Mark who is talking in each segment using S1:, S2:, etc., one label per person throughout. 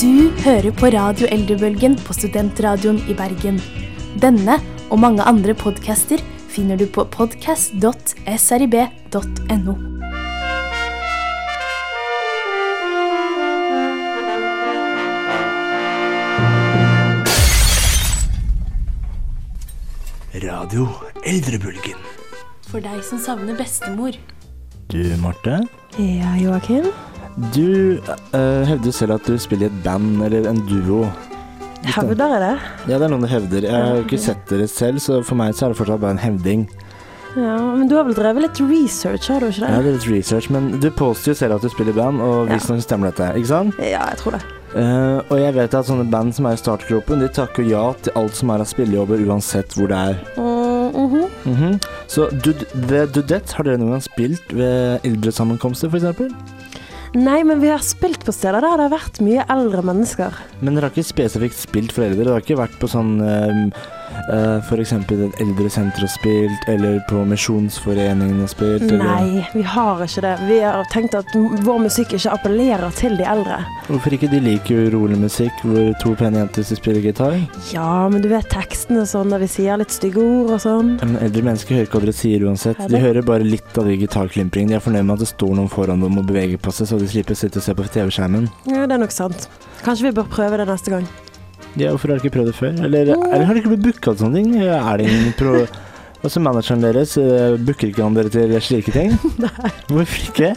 S1: Du hører på Radio Eldrebølgen på Studentradioen i Bergen. Denne og mange andre podcaster finner du på podcast.srib.no.
S2: Radio Eldrebølgen.
S1: For deg som savner bestemor.
S2: Du, Marte.
S3: Ja, Joakim.
S2: Du eh, hevder selv at du spiller i et band eller en duo.
S3: Hevder jeg det?
S2: Ja, det er noen du hevder. Jeg har jo ikke sett dere selv, så for meg så er det fortsatt bare en hevding.
S3: Ja, men du har vel drevet litt research, har du ikke
S2: Jeg har
S3: det?
S2: litt research, men du påstår jo selv at du spiller i band, og
S3: Ja.
S2: visstnok stemmer dette, ikke sant?
S3: Ja, jeg tror det.
S2: Eh, og jeg vet at sånne band som er i startgropen, de takker ja til alt som er av spillejobber, uansett hvor det er.
S3: Mm, mhm.
S2: Mhm. Så Dud The Dudette, har dere noen gang spilt ved eldresammenkomster, f.eks.?
S3: Nei, men vi har spilt på steder der det har vært mye eldre mennesker.
S2: Men dere har ikke spesifikt spilt for eldre? Dere har ikke vært på sånn um, uh, f.eks. et eldresenter og spilt, eller på Misjonsforeningen og spilt? Eller?
S3: Nei, vi har ikke det. Vi har tenkt at m- vår musikk ikke appellerer til de eldre.
S2: Hvorfor ikke? De liker jo rolig musikk hvor to pene jenter som spiller gitar.
S3: Ja, men du vet tekstene og sånn, der vi sier litt stygge ord og sånn.
S2: Men eldre mennesker hører ikke hva dere sier uansett. De
S3: Eller?
S2: hører bare litt av de gitarklimpringene. De er fornøyd med at det står noen foran dem og beveger på seg, så de slipper å sitte og se på TV-skjermen.
S3: Ja, det er nok sant. Kanskje vi bør prøve det neste gang.
S2: Ja, hvorfor har dere ikke prøvd det før? Eller, eller har dere ikke blitt booka til sånne ting? Er det ingen pro... Altså manageren deres, eh, booker ikke han dere til slike ting? Hvorfor ikke?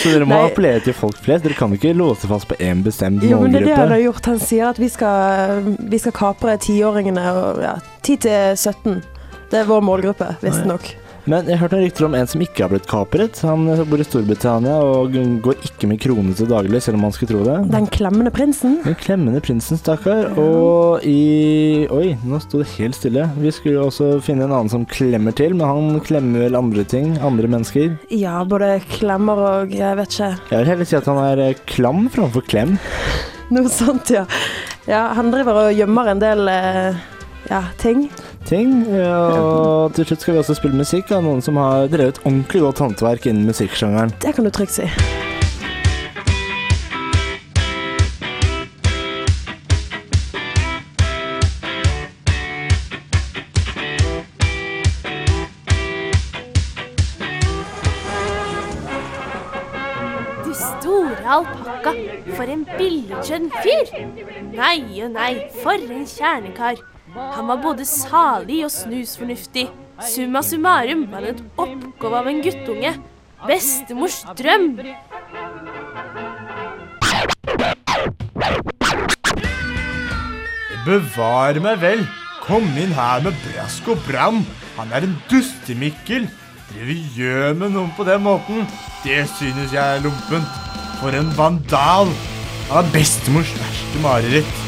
S2: Så dere må
S3: Nei.
S2: appellere til folk flest. Dere kan ikke låse fast på én bestemt
S3: Jo, men det er det han
S2: målgruppe.
S3: har gjort. Han sier at vi skal, vi skal kapre tiåringene og ja, 10 til 17. Det er vår målgruppe, visstnok.
S2: Men jeg hørte noen rykter om en som ikke har blitt kapret. Han eh, bor i Storbritannia og går ikke med krone til daglig, selv om man skulle tro det.
S3: Den klemmende prinsen.
S2: Den klemmende prinsen, stakkar. Og i Oi, nå sto det helt stille. Vi skulle jo også finne en annen som klemmer til, men han klemmer vel andre ting. Andre mennesker.
S3: Ja, både klemmer og jeg vet ikke.
S2: Jeg vil heller si at han er eh, klam framfor klem.
S3: Noe sånt, ja. Ja, Han driver og gjemmer en del eh, ja, ting.
S2: Ting. Ja, Og til slutt skal vi også spille musikk av noen som har drevet ordentlig godt håndverk innen musikksjangeren.
S3: Det kan du trygt si.
S1: Du store alpakka, for en billedskjønn fyr! Nei og nei, for en kjernekar. Han var både salig og snusfornuftig. Summa summarum var det et oppgave av en guttunge. Bestemors drøm!
S4: Bevar meg vel. Kom inn her med brask og bram. Han er en dustemikkel. Driver gjør med noen på den måten. Det synes jeg er lompent. For en vandal. Han er bestemors verste mareritt.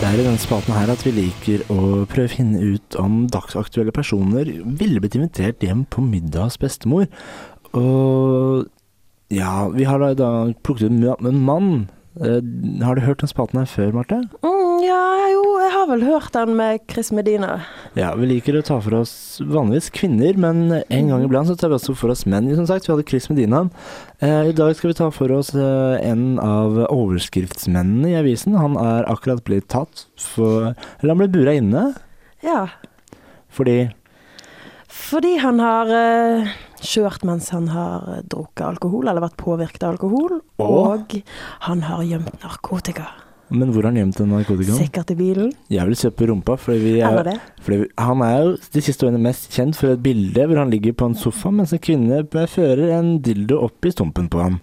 S2: Det er i denne spalten her at vi liker å prøve å finne ut om dagsaktuelle personer ville blitt invitert hjem på middag hos bestemor. Og ja, vi har da i dag plukket ut ma- en mann. Eh, har du hørt den spalten her før, Marte?
S3: Mm, ja, jo, jeg har vel hørt den med Chris Medina.
S2: Ja, vi liker å ta for oss vanligvis kvinner, men en gang iblant så tar vi også for oss menn. Som sagt, vi hadde Chris Medina. Eh, I dag skal vi ta for oss eh, en av overskriftsmennene i avisen. Han er akkurat blitt tatt for Eller han ble bura inne
S3: Ja,
S2: fordi
S3: fordi han har eh, kjørt mens han har eh, drukket alkohol, eller vært påvirket av alkohol.
S2: Og?
S3: Og han har gjemt narkotika.
S2: Men hvor har han gjemt den narkotikaen?
S3: Sikkert i bilen.
S2: Jeg vil se på rumpa, fordi, vi
S3: Eller
S2: er,
S3: det.
S2: fordi vi, han er jo de siste årene mest kjent for et bilde hvor han ligger på en sofa mens en kvinne fører en dildo opp i stumpen på ham.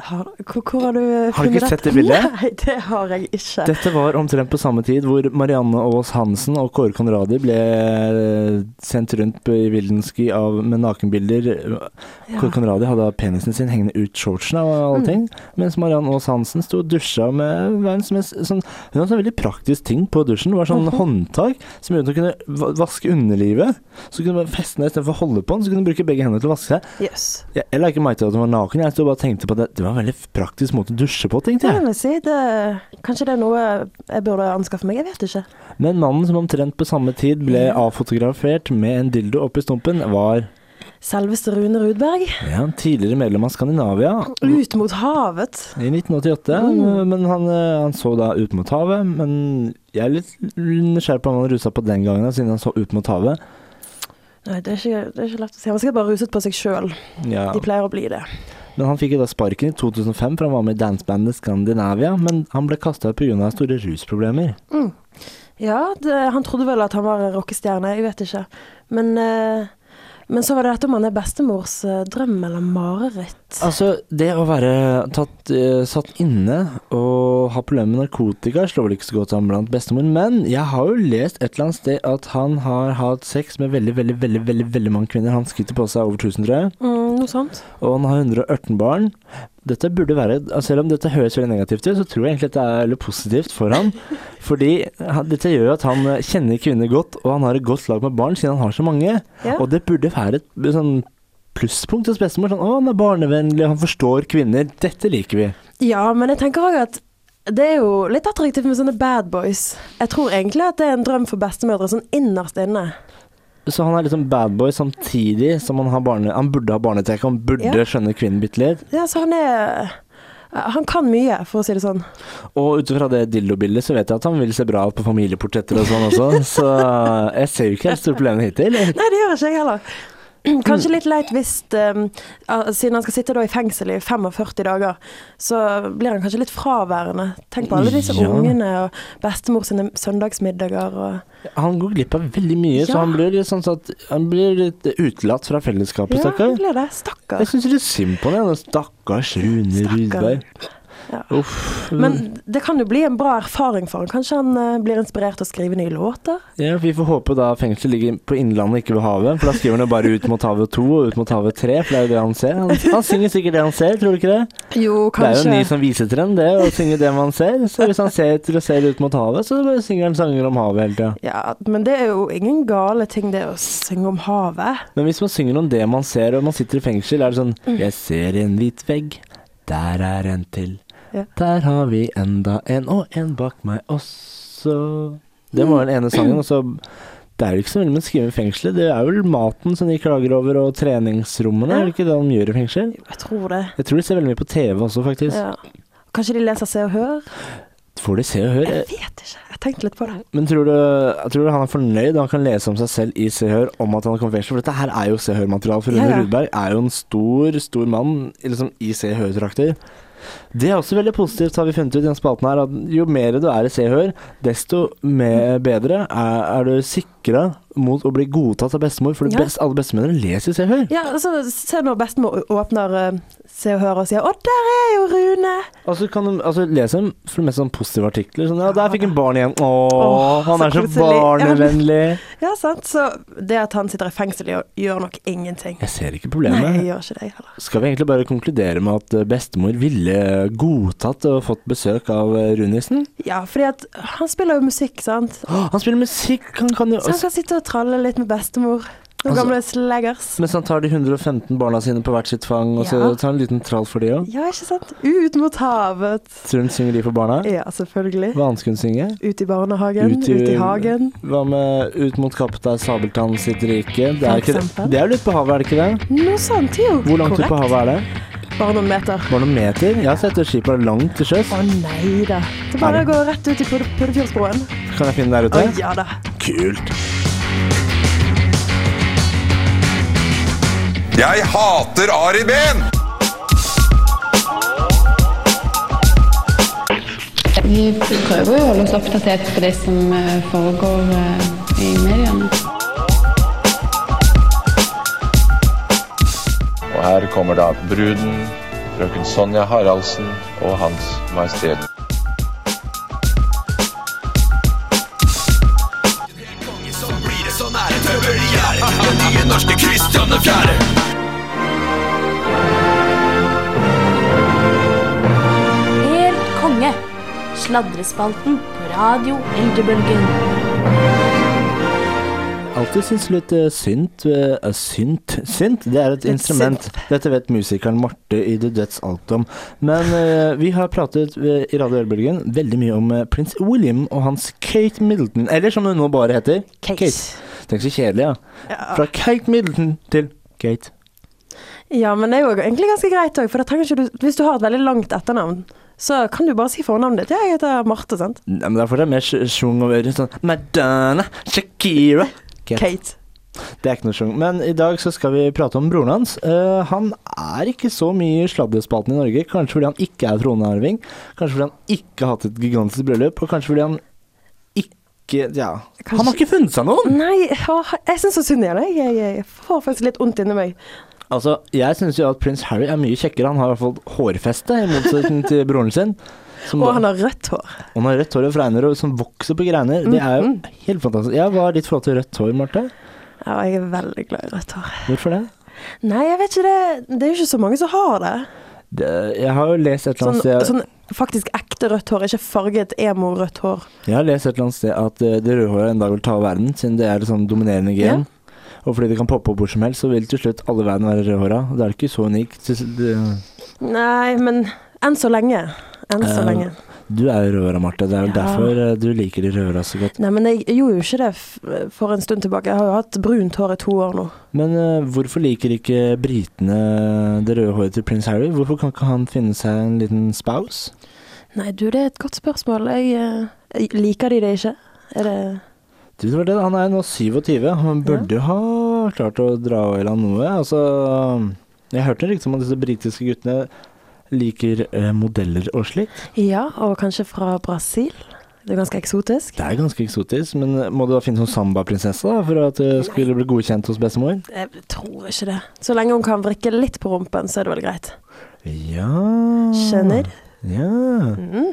S3: Har, hvor, hvor har du eh, funnet
S2: Har du ikke
S3: dette?
S2: sett det bildet?
S3: Nei, det har jeg ikke.
S2: Dette var omtrent på samme tid hvor Marianne Aas Hansen og Kåre Conradi ble eh, sendt rundt på- i Wildenski av, med nakenbilder.
S3: Ja.
S2: Kåre Conradi hadde penisen sin hengende ut shortsen og alle ting, mens Marianne Aas Hansen sto og dusja med verdens mest sånn, Hun hadde sånn veldig praktisk ting på dusjen. Det var sånn håndtak som gjorde at hun kunne va- vaske underlivet. Så kunne hun bare feste den istedenfor å holde på den, så kunne hun bruke begge hendene til å vaske seg.
S3: Jøss.
S2: Jeg, jeg la ikke merke til at hun var naken, jeg sto bare og tenkte på at det. Det var en veldig praktisk måte å dusje på, tenkte
S3: Det
S2: jeg.
S3: vil jeg si. Det, kanskje det er noe jeg burde anskaffe meg. Jeg vet ikke.
S2: Men mannen som omtrent på samme tid ble avfotografert med en dildo oppi stumpen, var
S3: Selveste Rune Rudberg.
S2: Ja, tidligere medlem av Skandinavia
S3: Ut mot havet.
S2: i 1988. Men han, eh, han så da ut mot havet. Men jeg er litt nysgjerrig på om han rusa på den gangen, da, siden han så ut mot havet.
S3: Nei, det er ikke, det er ikke lett å si. Han var sikkert bare ruset på seg sjøl.
S2: Ja.
S3: De pleier å bli det.
S2: Men han fikk jo da sparken i 2005, for han var med i dansebandet Skandinavia. Men han ble kasta ut pga. store rusproblemer.
S3: Ja, det, han trodde vel at han var en rockestjerne, jeg vet ikke. Men, eh, men så var det dette om han er bestemors eh, drøm eller mareritt.
S2: Altså, det å være tatt, eh, satt inne og ha problemer med narkotika slår vel ikke så godt an blant bestemor, men jeg har jo lest et eller annet sted at han har hatt sex med veldig, veldig, veldig veldig, veldig mange kvinner. Han skryter på seg over 1000, tror jeg.
S3: Mm, noe sånt.
S2: Og han har 118 barn. Dette burde være, altså, Selv om dette høres veldig negativt ut, så tror jeg egentlig at det er veldig positivt for han. Fordi han, dette gjør jo at han eh, kjenner kvinner godt, og han har et godt lag med barn siden han har så mange.
S3: Ja.
S2: Og det burde være et b- sånn plusspunkt hos bestemor. Sånn, 'Å, han er barnevennlig, han forstår kvinner. Dette liker vi'.
S3: ja, men jeg tenker òg at det er jo litt attraktivt med sånne bad boys. Jeg tror egentlig at det er en drøm for bestemødre, sånn innerst inne.
S2: Så han er liksom badboy samtidig som han har barne... Han burde ha barnetek, han burde
S3: Ja.
S2: skjønne kvinnen bitte litt.
S3: Ja, så han er eh, Han kan mye, for å si det sånn.
S2: Og ut fra det dildobildet så vet jeg at han vil se bra ut på familieportretter og sånn også, så eh, jeg ser jo ikke helt store problemer hittil.
S3: Nei, det gjør ikke jeg heller. Kanskje litt leit hvis ehm, ah, Siden han skal sitte da i fengsel i 45 dager, så blir han kanskje litt fraværende. Tenk på alle disse
S2: Ja.
S3: ungene og bestemor sine søndagsmiddager og
S2: Han går glipp av veldig mye, så
S3: Ja.
S2: han blir litt sånn at han blir litt utelatt fra fellesskapet,
S3: Ja,
S2: stakkar.
S3: han blir det.
S2: Jeg
S3: Stakkar.
S2: syns litt synd på ham, stakkars Rune
S3: Stakkar.
S2: Rudberg.
S3: Ja.
S2: Uff.
S3: Men det kan jo bli en bra erfaring for han. Kanskje han eh, blir inspirert til å skrive nye låter?
S2: Ja, vi får håpe da fengselet ligger på Innlandet, ikke ved havet. For da skriver han jo bare ut mot havet 2 og ut mot havet 3, for det er jo det han ser. Han, han synger sikkert det han ser, tror du ikke det?
S3: Jo,
S2: Det er jo en ny
S3: kanskje.
S2: sånn visetrend, det, å synge det man ser. Så hvis han ser etter og ser ut mot havet, så bare synger han sanger om havet hele tida.
S3: Ja, men det er jo ingen gale ting, det å synge om havet.
S2: Men hvis man synger om det man ser, og man sitter i fengsel, er det sånn
S3: Mm.
S2: Jeg ser en hvit vegg, der er en til.
S3: Ja.
S2: Der har vi enda en, og en bak meg også. Det
S3: Mm.
S2: var den ene sangen, og så Det er jo ikke så veldig mye å skrive i fengselet. Det er vel maten som de klager over, og treningsrommene. Er det ikke det de gjør i fengsel?
S3: Jeg tror det.
S2: Jeg tror de ser veldig mye på TV også, faktisk.
S3: Ja. Kanskje de leser Se og Hør? Eh.
S2: Får de se og høre?
S3: Jeg vet ikke. Jeg tenkte litt på det.
S2: Men tror du, tror du han er fornøyd og han kan lese om seg selv i Se og Hør om at han har kommet i fengsel? For dette her er jo Se og Hør-materiale, for Rune
S3: Ja, ja.
S2: Rudberg er jo en stor, stor mann liksom, i Se og Hør-trakter. Det er også veldig positivt, har vi funnet ut i den spalten her, at jo mer du er i Se og Hør, desto mer, bedre er, er du sikra mot å bli godtatt av bestemor, for det
S3: Ja.
S2: best, alle bestemødre leser Se og Hør.
S3: Ja, altså, Se når bestemor å- åpner eh, Se og Hør og sier 'Å, der er jo Rune'.
S2: Altså, kan de, altså les dem for det meste sånn positive artikler. Sånn, ja, der fikk han barn igjen. Å,
S3: Åh,
S2: han er
S3: så
S2: så
S3: koselig. Ja.
S2: barnevennlig.
S3: Ja, sant. Så det at han sitter i fengsel, gjør, gjør nok ingenting.
S2: Jeg ser ikke
S3: Nei,
S2: problemet.
S3: jeg gjør ikke det, jeg heller.
S2: Skal vi egentlig bare konkludere med at eh, bestemor ville godtatt og fått besøk av eh, Runissen?
S3: Ja, fordi at han spiller jo musikk, sant.
S2: Å, Han spiller musikk! Han kan jo
S3: Så han kan sitte og tralle litt med bestemor. Noen
S2: Altså-
S3: gamle sleggers.
S2: Mens han tar de 115 barna sine på hvert sitt fang, og så
S3: Ja.
S2: tar han en liten trall for de òg.
S3: Ja, ikke sant. Ut mot havet.
S2: Tror du hun synger de for barna?
S3: Ja, selvfølgelig.
S2: Hva annet skulle hun synge?
S3: Ut i barnehagen, Eh, ut i, hagen.
S2: Hva med Ut mot Kaptein Sabeltann sitt rike? Det
S3: For
S2: er, ikke,
S3: eksempel.
S2: det er jo litt på havet, er det ikke det?
S3: Noe sånt, jo.
S2: Hvor langt ut på
S3: Korrekt.
S2: havet er det?
S3: Bare noen meter.
S2: Bare noen meter? Jeg har sett det skipet er langt til sjøs.
S3: Å nei da. Så bare gå rett ut i Puddefjordsbroen. Puddefjordsbroen.
S2: Kan jeg finne det
S3: Å
S2: der ute?
S3: ja da.
S2: Kult!
S5: Jeg hater Ari Behn!
S6: Vi prøver jo å holde oss oppdatert på det som eh, foregår eh, i mediene.
S7: Og her kommer da bruden, frøken Sonja Haraldsen og Hans Majestet
S1: Helt konge. Sladrespalten på radio Eldrebølgen.
S2: alltid syns litt eh, synt eh, eh, Synt? Synt, det er et instrument. Dette vet musikeren Marte i The Døds alt om. Men eh, vi har pratet eh, i Radio Ølbølgen veldig mye om eh, prins William og hans Kate Middleton. Eller som hun nå bare heter.
S3: Kate.
S2: Tenk så kjedelig, ja. Fra Kate Middleton til Kate.
S3: Ja, men det er jo egentlig ganske greit òg, for da trenger ikke du Hvis du har et veldig langt etternavn, så kan du bare si fornavnet ditt. Ja, jeg heter Marte, sant?
S2: Nei, men Det er fortsatt mer sj- sjung over sånn Madonna, Shakira Kate.
S3: Kate.
S2: Det er ikke noe sjung. Men i dag så skal vi prate om broren hans. Eh, han er ikke så mye i sladrespalten i Norge. Kanskje fordi han ikke er tronarving. Kanskje fordi han ikke har hatt et gigantisk bryllup. Og kanskje fordi han ikke Ja. Han har ikke funnet seg noen!
S3: Nei, å, jeg syns så synd i han. jeg. Jeg jeg får faktisk litt vondt inni meg.
S2: Altså, jeg syns jo at prins Harry er mye kjekkere. Han har i hvert fall hårfeste, i motsetning til broren sin. Som
S3: Og han har rødt hår. Mm.
S2: han har rødt hår og fregner og som vokser på greiner. Det er jo helt fantastisk. Jeg var litt forhold til rødt hår, Marte.
S3: Ja, jeg er veldig glad i rødt hår.
S2: Hvorfor det?
S3: Nei, jeg vet ikke det Det er jo ikke så mange som har det.
S2: det? Jeg har jo lest et eller
S3: Sånn,
S2: annet sted
S3: sånn faktisk ekte rødt hår, ikke farget emo-rødt hår.
S2: Jeg har lest et eller annet sted at eh, det rødhåra en dag vil ta over verden, siden det er et sånn dominerende gen. Og fordi det kan poppe opp hvor som helst, så vil til slutt alle i verden være rødhåra. Det er ikke så unikt. Så- så det-
S3: Nei, men enn så lenge. Enn så
S2: Eh,
S3: lenge.
S2: Du er jo rødhåra, Marte. Det er jo
S3: Ja.
S2: derfor eh, du liker de rødhåra så godt.
S3: Nei, men jeg gjorde jo ikke det f- for en stund tilbake. Jeg har jo hatt brunt hår i to år nå.
S2: Men eh, hvorfor liker ikke britene det røde håret til prins Harry? Hvorfor kan ikke han finne seg en liten spouse?
S3: Nei, du, det er et godt spørsmål. Jeg, eh, jeg- liker de det ikke? Er det
S2: Du, det var det. Han er nå 27. Han burde jo ha klart å dra i land noe. Altså, jeg hørte riktig om at disse britiske guttene liker eh, modeller og slikt.
S3: Ja, og kanskje fra Brasil? Det er ganske eksotisk.
S2: Det er ganske eksotisk, men må du da finne sånn sambaprinsesse da, for at det skulle bli godkjent hos bestemor?
S3: Jeg tror ikke det. Så lenge hun kan vrikke litt på rumpen, så er det vel greit.
S2: Ja
S3: Mm. Skjønner? Mm.
S2: Ja.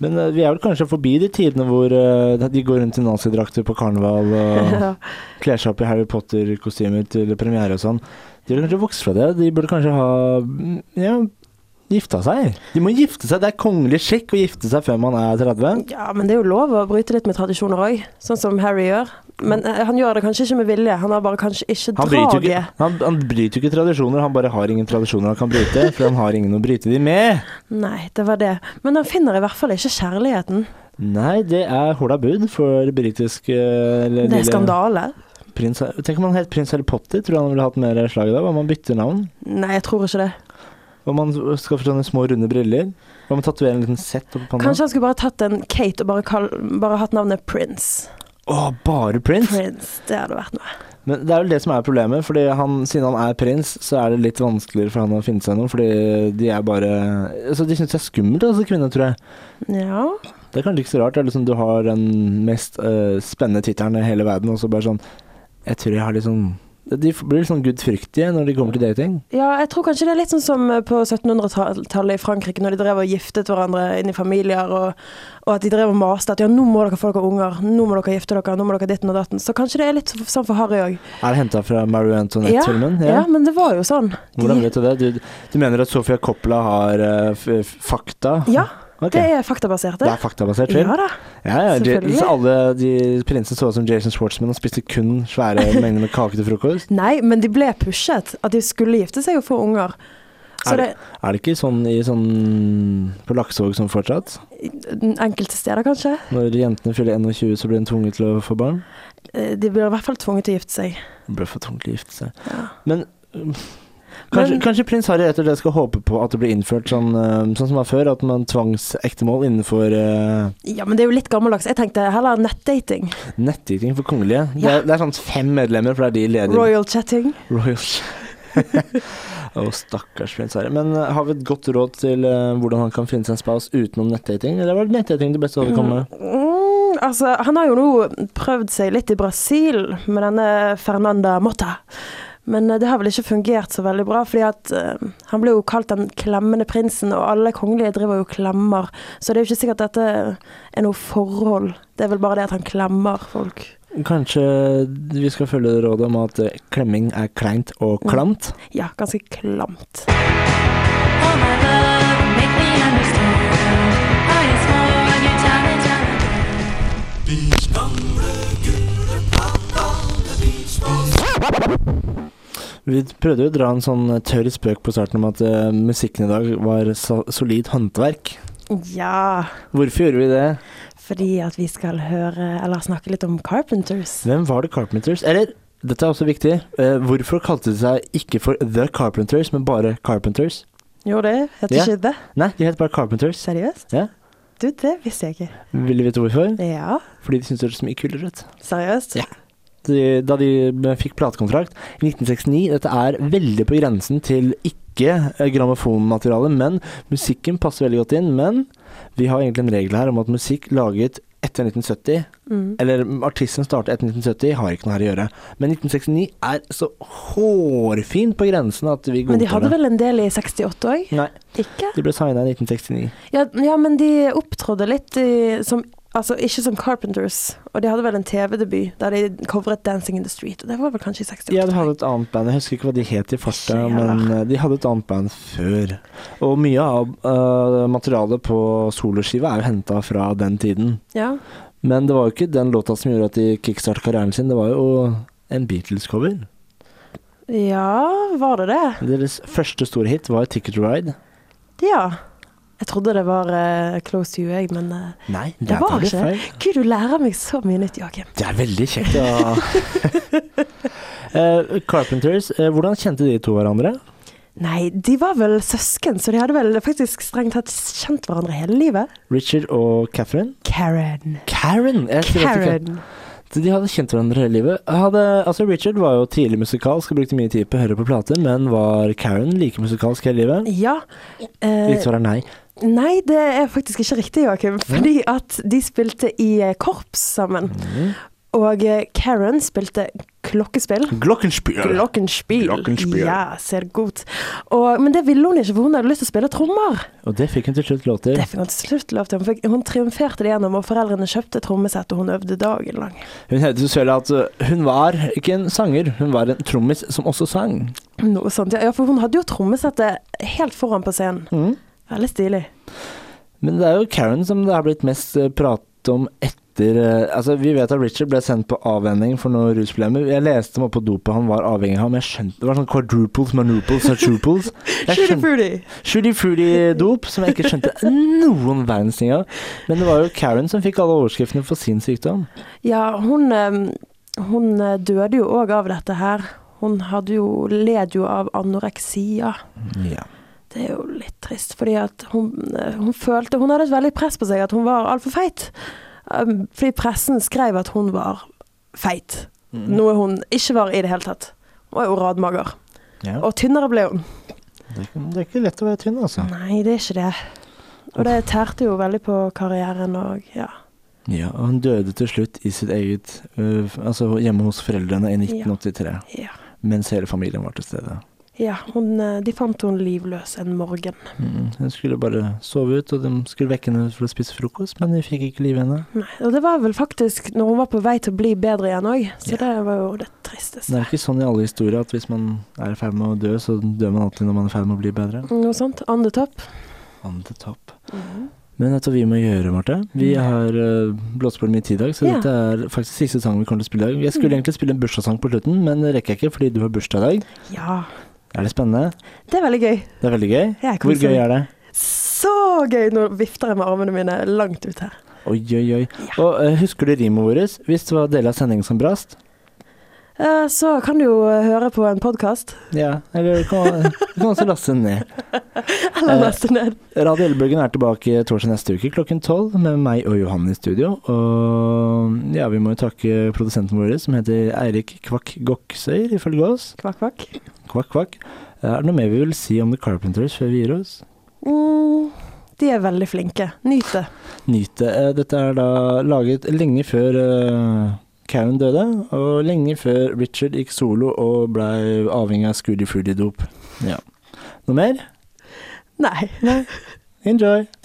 S2: Men eh, vi er vel kanskje forbi de tidene hvor eh, de går rundt i nazidrakter på karneval og
S3: Ja.
S2: kler seg opp i Harry Potter-kostymer til premiere og sånn. De burde kanskje vokse fra det. De burde kanskje ha mm, ja, gifta seg. De må gifte seg. Det er kongelig skikk å gifte seg før man er 30.
S3: ja, men det er jo lov å bryte litt med tradisjoner òg, sånn som Harry gjør. Men eh, han gjør det kanskje ikke med vilje. Han har bare kanskje ikke
S2: Han bryter, jo ikke,
S3: draget.
S2: han, han bryter jo ikke tradisjoner, han bare har ingen tradisjoner han kan bryte. For han har ingen å bryte de med.
S3: Nei, det var det. Men han finner i hvert fall ikke kjærligheten.
S2: Nei, det er hola bud for britisk eh, eller
S3: Det er
S2: lille
S3: skandale.
S2: prins, Tenk om han het prins Harry Potter. Tror du han ville hatt mer slag da? Hva om han bytter navn?
S3: Nei, jeg tror ikke det.
S2: Hva om han skaffer sånne små, runde briller? Hva om han tatoverer en liten Z oppå panna?
S3: Kanskje han skulle bare tatt en Kate og bare, kall, bare hatt navnet Prince.
S2: Å, bare prins?
S3: Prince, det hadde vært noe.
S2: Men det er vel det som er problemet, fordi han, siden han er prins, så er det litt vanskeligere for han å finne seg noe, fordi de er bare Altså, de syns det er skummelt, altså, kvinner, tror jeg.
S3: Ja.
S2: Det er kanskje ikke så rart. Det er liksom du har den mest eh, spennende tittelen i hele verden, og så bare sånn Jeg tror jeg har litt sånn De blir litt sånn gudfryktige når de kommer til dating.
S3: ja, jeg tror kanskje det er litt sånn som på 1700-tallet i Frankrike, når de drev og giftet hverandre inn i familier, og, og at de drev og maste at ja, nå må dere få dere unger, nå må dere gifte dere, nå må dere ditten og datten. Så kanskje det er litt sånn for Harry òg.
S2: Er det henta fra Marie
S3: Ja,
S2: Antoinette-filmen?
S3: ja, men det var jo sånn.
S2: Hvordan
S3: De,
S2: vet du det? Du, du mener at Sofia Coppola har eh, f f- fakta?
S3: ja,
S2: Ok.
S3: det er faktabasert,
S2: Det
S3: det.
S2: er faktabasert film?
S3: Ja da.
S2: Ja, ja,
S3: Selvfølgelig.
S2: Selvfølgelig. alle de prinsene så ut som Jason Schwartzman og spiste kun svære mengder med kake til frokost.
S3: Nei, men de ble pushet. At de skulle gifte seg og få unger. Så
S2: Er
S3: det
S2: det, er det ikke sånn, i, sånn på Laksevåg som fortsatt?
S3: Enkelte steder, kanskje.
S2: Når jentene fyller 21, så blir de tvunget til å få barn?
S3: Eh, De blir i hvert fall tvunget til å gifte seg.
S2: De blir for tvunget til å gifte seg. Men um, Kanskje, kanskje prins Harry rett og slett skal håpe på at det blir innført sånn, um, sånn som var før, at man tvangsektemål innenfor eh,
S3: Ja, men det er jo litt gammeldags. Jeg tenkte heller nettdating.
S2: nettdating for kongelige. Det,
S3: Ja.
S2: er, det er sånn fem medlemmer, for det er de leder
S3: Royal chatting.
S2: Royals. Å, stakkars prins Harry. Men eh, har vi et godt råd til eh, hvordan han kan finne seg en spouse utenom nettdating? Eller var det nettdating det beste å komme med?
S3: Mm, altså, han har jo nå prøvd seg litt i Brasil med denne Fernanda Motta. Men eh, det har vel ikke fungert så veldig bra, fordi at eh, han ble jo kalt den klemmende prinsen, og alle kongelige driver jo og klemmer. Så det er jo ikke sikkert dette er noe forhold. Det er vel bare det at han klemmer folk.
S2: Mm, Kanskje vi skal følge rådet om at eh, klemming er kleint og klamt?
S3: Ja, ganske klamt.
S2: Vi prøvde jo å dra en sånn tørr spøk på starten om at eh, musikken i dag var so solid håndverk.
S3: Ja,
S2: Hvorfor gjorde vi det?
S3: fordi at vi skal høre, eller snakke litt om Carpenters.
S2: Hvem var det Carpenters Eller Dette er også viktig. Eh, hvorfor kalte de seg ikke for The Carpenters, men bare Carpenters?
S3: Jo, det heter
S2: Ja.
S3: ikke det.
S2: Nei, de het bare Carpenters.
S3: Seriøst?
S2: Ja.
S3: Du, det visste jeg ikke.
S2: Vil du vite hvorfor?
S3: Ja,
S2: Fordi de syntes det hørtes mye kulere ut.
S3: seriøst?
S2: Ja. De, da de b- fikk platekontrakt i 1969 Dette er veldig på grensen til ikke eh, grammofonmateriale, men musikken passer veldig godt inn. Men vi har egentlig en regel her om at musikk laget etter 1970, eller mm, artisten startet etter 1970, har ikke noe her å gjøre. Men 1969 er så hårfint på grensen at vi
S3: Men de hadde
S2: godtar det.
S3: vel en del i 68 òg?
S2: Nei,
S3: Ikke?
S2: de ble signa i 1969.
S3: Ja, ja, men de opptrådde litt i, som Altså ikke som Carpenters, og de hadde vel en TV-debut der de covret 'Dancing in the Street', og det var vel kanskje i 68?
S2: Ja, de hadde et annet band. Jeg husker ikke hva de het i farta,
S3: Ikke heller.
S2: men eh, de hadde et annet band før. Og mye av eh, materialet på soloskiva er jo henta fra den tiden.
S3: Ja.
S2: Men det var jo ikke den låta som gjorde at de kickstart karrieren sin, det var jo en Beatles-cover.
S3: ja, var det det?
S2: Deres første store hit var 'Ticket to Ride'.
S3: Ja. Jeg trodde det var eh, Close to You, jeg, men eh,
S2: Nei,
S3: det
S2: der tar
S3: var
S2: du
S3: ikke det. Gud, du lærer meg så mye nytt, Joakim.
S2: Det er veldig kjekt, ja. Eh, Carpenters, eh, hvordan kjente de to hverandre?
S3: Nei, de var vel søsken, så de hadde vel faktisk strengt tatt kjent hverandre hele livet.
S2: Richard og Catherine?
S3: Karen.
S2: Karen! Jeg sier alltid Karen.
S3: Karen.
S2: Så De hadde kjent hverandre hele livet. Jeg Hadde, altså Richard var jo tidlig musikalsk og brukte mye tid på å høre på plater, men var Karen like musikalsk hele livet?
S3: Ja. eh,
S2: Riktig svar er nei.
S3: Nei, det er faktisk ikke riktig, Joakim. Fordi at de spilte i eh, korps sammen.
S2: Mhm.
S3: Og eh, Karen spilte klokkespill.
S2: Glockenspiel!
S3: Glockenspiel.
S2: Glockenspiel.
S3: Ja, ser godt. Og, men det ville hun ikke, for hun hadde lyst til å spille trommer.
S2: Og det fikk hun til slutt lov til.
S3: Det fikk hun til slutt lov til. Hun, fikk, hun triumferte det gjennom, og foreldrene kjøpte trommesett, og hun øvde dagen lang.
S2: Hun hevdet jo selv at uh, hun var ikke en sanger, hun var en trommis som også sang.
S3: Noe sånt. Ja, Ja, for hun hadde jo trommesettet helt foran på scenen. Veldig stilig.
S2: Men det er jo Karen som det har blitt mest eh, prat om etter eh, Altså, vi vet at Richard ble sendt på avvenning for noen rusproblemer. Jeg leste om oppe på dopet han var avhengig av, men jeg skjønte Det var sånn quadruples, manuples og truples. Jeg
S3: Shitty
S2: skjønte-
S3: fruity.
S2: Shooty Fruity Dop, som jeg ikke skjønte noen verdens ting av. Men det var jo Karen som fikk alle overskriftene for sin sykdom.
S3: Ja, hun, eh, hun eh, døde jo òg av dette her. Hun hadde jo, led jo av anoreksia.
S2: Ja.
S3: Det er jo litt trist, fordi at hun, eh, hun følte Hun hadde et veldig press på seg at hun var altfor feit. Um, Fordi pressen skrev at hun var feit.
S2: Mm.
S3: Noe hun ikke var i det hele tatt. Hun var jo radmager.
S2: Ja.
S3: Og tynnere ble hun.
S2: Det, er ikke lett å være tynn, altså.
S3: Nei, det er ikke det. Og det tærte jo veldig på karrieren og ja.
S2: Ja, og hun døde til slutt i sitt eget øh, Altså hjemme hos foreldrene i 1983.
S3: ja.
S2: Mens hele familien var til stede.
S3: Ja, hun, eh, de fant hun livløs en morgen.
S2: Mm. Hun skulle bare sove ut, og de skulle vekke henne for å spise frokost, men de fikk ikke liv i henne.
S3: Nei, og det var vel faktisk når hun var på vei til å bli bedre igjen òg, så
S2: Ja.
S3: det var jo det
S2: Det
S3: tristeste.
S2: er ikke sånn i alle historier at hvis man er i ferd med å dø, så dør man alltid når man er i ferd med å bli bedre.
S3: Noe sånt. Andet opp.
S2: Han til topp.
S3: Mhm.
S2: Men dette vi må gjøre, Marte. Vi har uh, blåst på mye tid i dag, så
S3: Ja. Mm.
S2: dette er faktisk siste sang vi kommer til å spille i dag. Jeg skulle egentlig spille en bursdagssang på slutten, men det rekker jeg ikke fordi du har bursdag i dag.
S3: Ja.
S2: Er det spennende?
S3: Det er veldig gøy.
S2: Det er veldig gøy.
S3: Jeg
S2: Hvor
S3: koser
S2: gøy
S3: meg.
S2: er det?
S3: Så gøy! Nå vifter jeg med armene mine langt ut her.
S2: Oi, oi, oi. Og eh, husker du rimet vårt? Hvis det var deler av sendingen som brast?
S3: Eh, Så kan du jo eh, høre på en podkast.
S2: Ja. Eller du kan, du kan også laste den ned. Eh.
S3: Eller leste ned.
S2: Radio Elbølgen er tilbake torsdag neste uke klokken tolv med meg og Johan i studio. Og ja, vi må jo takke produsenten vår som heter Eirik Kvakk Goksøyr, ifølge oss.
S3: Kvakk, kvakk.
S2: Kvakk, kvakk. Eh, Er det noe mer vi vil si om The Carpenters før vi gir oss?
S3: Mm, de er veldig flinke. Nyt det.
S2: Nyt det. Eh, Dette er da laget lenge før eh, Karen døde, og lenge før Richard gikk solo og blei avhengig av Scooty Fruity Dop. Ja. Noe mer?
S3: Nei.
S2: Enjoy!